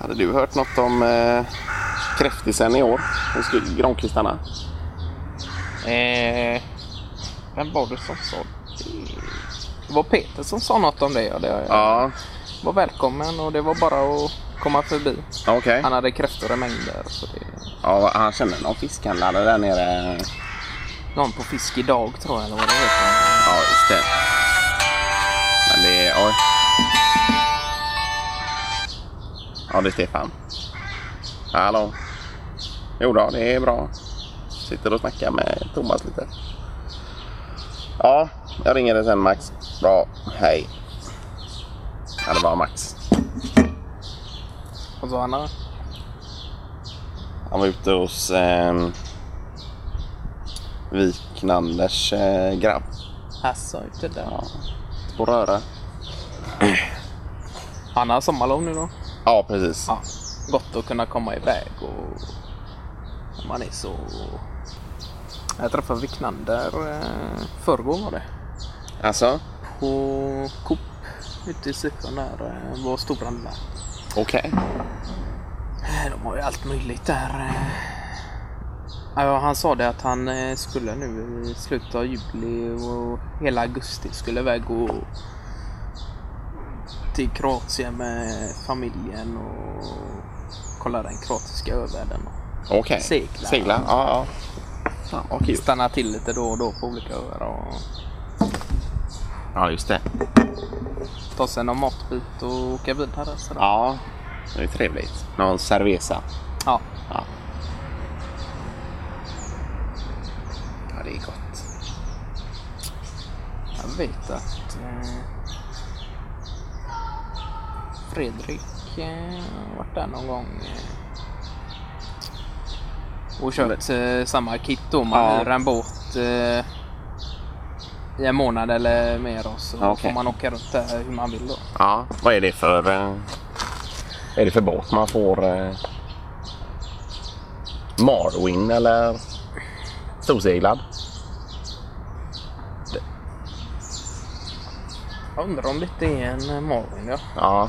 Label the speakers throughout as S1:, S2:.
S1: Hade du hört något om eh, kräftisen i år? Hos grankvistarna?
S2: Eh, vem var det som sa det? var Peter som sa något om det. Ja, det
S1: Ja,
S2: var välkommen och det var bara att komma förbi.
S1: okej.
S2: Han hade kräftor i mängder. Så det...
S1: Ja, han kände någon fiskhandlare där nere.
S2: Någon på Fisk idag tror jag eller vad det heter.
S1: Ja, just det. Men det är... Oj. Ja, det är Stefan. Hallå. Jo då, det är bra. Sitter och snackar med Thomas lite. Ja, jag ringer dig sen Max. Bra, hej. Ja, det var Max.
S2: Och så han
S1: Han var ute hos eh, Viknanders eh, grabb
S2: Alltså, inte där.
S1: på Röra.
S2: Han har sommarlov nu då.
S1: Ja, precis.
S2: Ja, gott att kunna komma iväg och man är så... Jag träffade Wiklander eh, förrgår var det.
S1: Alltså,
S2: På Coop ute i Cypern där, eh, var storhandlare.
S1: okej.
S2: Eh, De har ju allt möjligt där. eh. Ja, han sa det att han eh, skulle nu i slutet av juli och hela augusti skulle iväg och till Kroatien med familjen och kolla den kroatiska övärlden.
S1: Okej.
S2: Segla.
S1: Segla, ja. ja. Fan vad kul.
S2: Stanna till lite då och då på olika öar och
S1: Ja, just det.
S2: ta sig någon matbit och åka vidare. Sådär.
S1: Ja, det är trevligt. Någon cerveza.
S2: Ja.
S1: Ja. ja, det är gott.
S2: Jag vet att eh, Fredrik eh, har varit där någon gång eh, och köpt eh, samma kit då. Man
S1: Ja.
S2: hyr en båt eh, i en månad eller mer och så
S1: Ja, okej.
S2: får man åka runt där hur man vill då.
S1: Ja, vad är det för... Eh, vad är det för båt man får? Eh, Marwin eller storseglad?
S2: Jag undrar om det inte är en eh, Marvin ja.
S1: Ja.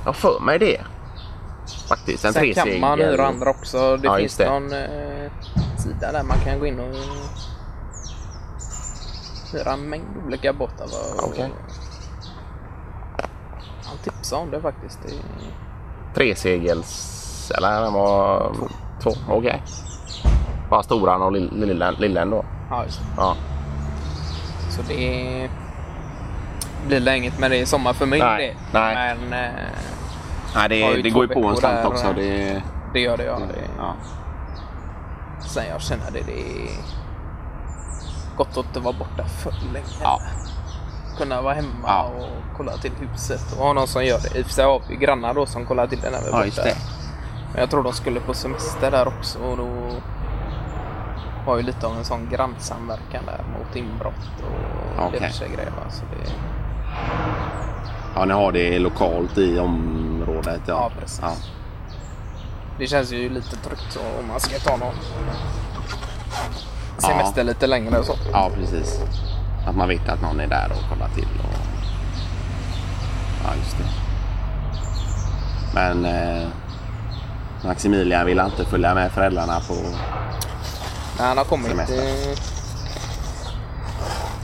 S1: Jag har för mig det. Faktiskt. En
S2: Sen kan
S1: tresegel.
S2: man hyra andra också. Det
S1: Ja,
S2: finns
S1: just det.
S2: någon eh, sida där man kan gå in och hyra en mängd olika båtar. va, och-
S1: Okej.
S2: Han tipsade om det faktiskt. Det...
S1: Tresegels... Eller den var... Två. Okej. Bara storan och lill- lillen lillen då?
S2: Ja, just det.
S1: Ja.
S2: Så det blir väl inget med det i sommar för min
S1: Nej,
S2: del.
S1: nej.
S2: Men eh,
S1: Nej,
S2: Har ju det går ju två på en veckor slant där. också.
S1: Det,
S2: det gör det. Ja. det.
S1: ja.
S2: Sen jag känner det. Det är gott att inte vara borta för länge.
S1: Ja.
S2: kunna vara hemma
S1: Ja.
S2: och kolla till huset. Och ha någon som gör det. I och för sig har vi grannar då som kollar till den när vi är
S1: Ja, just
S2: borta.
S1: det.
S2: Men jag tror de skulle på semester där också och då har ju lite av en sån grannsamverkan där mot inbrott och
S1: Okej.
S2: diverse grejer. va. Så det,
S1: ja, ni har det lokalt i området. Ja,
S2: Ja, precis. det känns ju lite tryggt så om man ska ta någon semester lite längre och så.
S1: Ja, precis. Att man vet att någon är där och kollar till. Och... Ja, just det. Men eh, Maximilian ville inte följa med föräldrarna på...
S2: Men han har kommit,
S1: Semester.
S2: eh,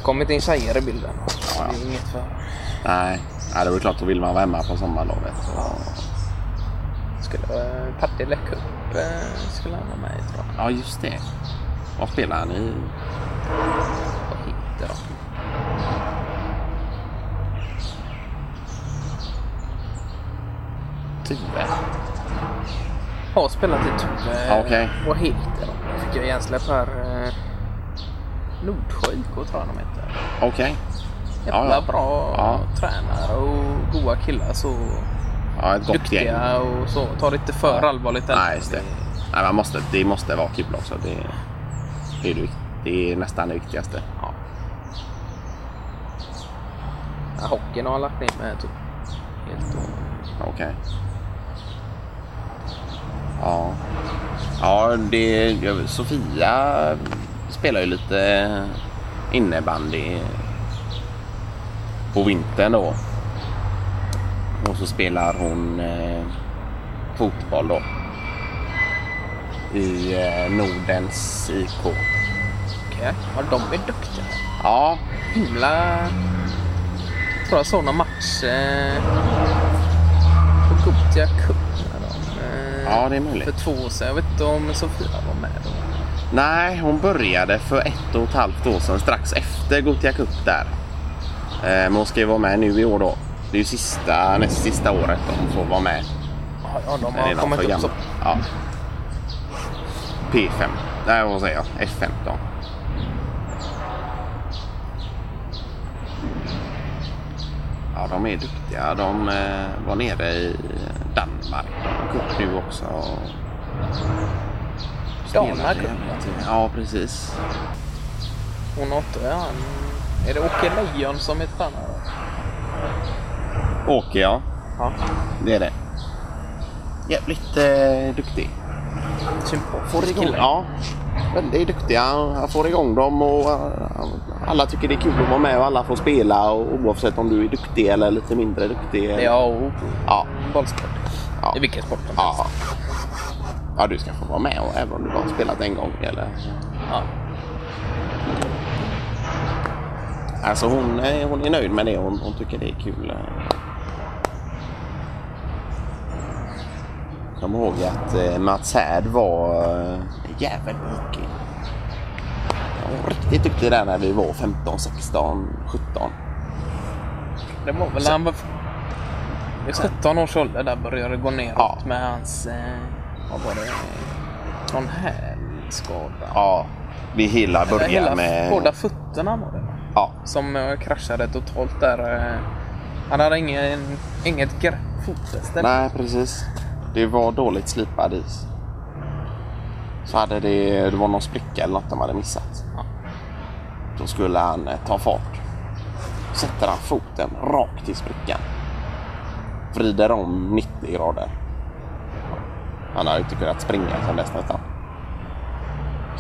S2: kommit in tjejer i bilden.
S1: ja.
S2: Det är inget för...
S1: Nej, Nej det var ju klart. Då vill man vara hemma på sommarlovet. Och...
S2: Skulle eh, Partille Cup eh, skulle han vara med i tror jag.
S1: Ja, just det. Vad spelar han i?
S2: Vad heter de?
S1: Tuve?
S2: Har spelat i typ, eh, Tuve.
S1: Ja, Ah, okej.
S2: Vad heter de? Det fick jag hjärnsläpp här. eh, Nordsjö IK tror jag de heter.
S1: Okej.
S2: Jävla
S1: Ja, ja.
S2: bra
S1: Ja.
S2: tränare och goa killar. Så
S1: Ja, ett gott gäng.
S2: duktiga och så. Ta det inte för allvarligt. heller.
S1: Nej, just det. Nej, man måste, det måste vara kul också. Det, det, är, det, vik- det är nästan det viktigaste.
S2: Ja. Ja, Hockeyn har han lagt ner med typ helt och...
S1: Okej. Ja. Ja, det, jag- Sofia spelar ju lite innebandy på vintern då. Och så spelar hon eh, fotboll då. I eh, Nordens IK.
S2: Okej. Ja, de är duktiga.
S1: Ja,
S2: Himla... Jag tror jag såg någon match eh, på Gothia Cup. när de, eh,
S1: ja det är
S2: För
S1: möjligt.
S2: två år sedan. Jag vet inte om Sofia var med då.
S1: Nej, hon började för ett och ett halvt år sedan strax efter Gothia Cup där. Eh, men hon ska ju vara med nu i år då. Det är ju sista, näst sista året hon får vara med.
S2: Ja, ja de
S1: Den är
S2: har
S1: redan
S2: kommit
S1: för
S2: upp så.
S1: gammal. Ja. P5. Nej, vad säger jag? F15. Ja, de är duktiga. De eh, var nere i Danmark Cup nu också.
S2: Danmark
S1: Spelade
S2: Cup,
S1: hela
S2: ja.
S1: tiden. Ja, precis.
S2: Hon har inte... Ja, han, är det Åke Lejon som är tränare?
S1: Åker ja.
S2: Ja.
S1: Det är det. Jävligt eh, duktig. Får
S2: Sympatisk
S1: igång,
S2: kille.
S1: ja, väldigt duktiga. Han får igång dem och eh, alla tycker det är kul att vara med och alla får spela och oavsett om du är duktig eller lite mindre duktig. eller-
S2: Ja, och
S1: Ja.
S2: bollsport.
S1: Ja.
S2: I vilken sport som helst.
S1: Ja. ja, du ska få vara med och, även om du bara har spelat en gång. Eller?
S2: Ja.
S1: Alltså hon, eh, hon är nöjd med det. Hon, hon tycker det är kul. eh. Jag kommer ihåg att eh, Mats Härd var eh, jävligt duktig. Han var riktigt duktig där när vi var 15, 16, 17.
S2: Det var väl han var... Vid 17 års ålder där började det gå neråt
S1: Ja.
S2: med hans... Eh, vad var det? Någon hälskada.
S1: Ja, vi hela
S2: Eller
S1: börjar
S2: hela-
S1: med...
S2: Båda fötterna var det va?
S1: Ja,
S2: Som eh, kraschade totalt där. eh. Han hade ingen, inget grepp, fotfäste.
S1: nej precis. Det var dåligt slipad is. Så hade det, det var någon spricka eller något de hade missat.
S2: Ja.
S1: Då skulle han eh, ta fart. Sätter han foten rakt i sprickan. Vrider om 90 grader. Han har inte kunnat springa sedan dess nästan.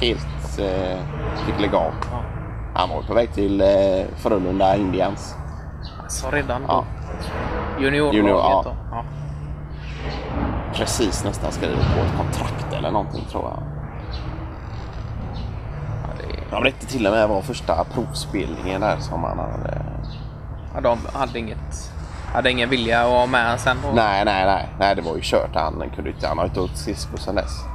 S1: Helt eh, fick lägga av.
S2: Ja.
S1: Han var ju på väg till eh, Frölunda Indians.
S2: Alltså redan då.
S1: Ja.
S2: Juniorlaget
S1: Junior, ja.
S2: då. Ja.
S1: precis nästan skrivit på ett kontrakt eller någonting tror jag.
S2: Ja, det,
S1: Ja, men det till och med var första provspelningen där som han hade...
S2: ja, de hade inget... Hade ingen vilja att vara med sen. då.
S1: Nej, nej, nej. Nej, det var ju kört. Han kunde inte... Han har ju inte åkt skridskor sedan dess.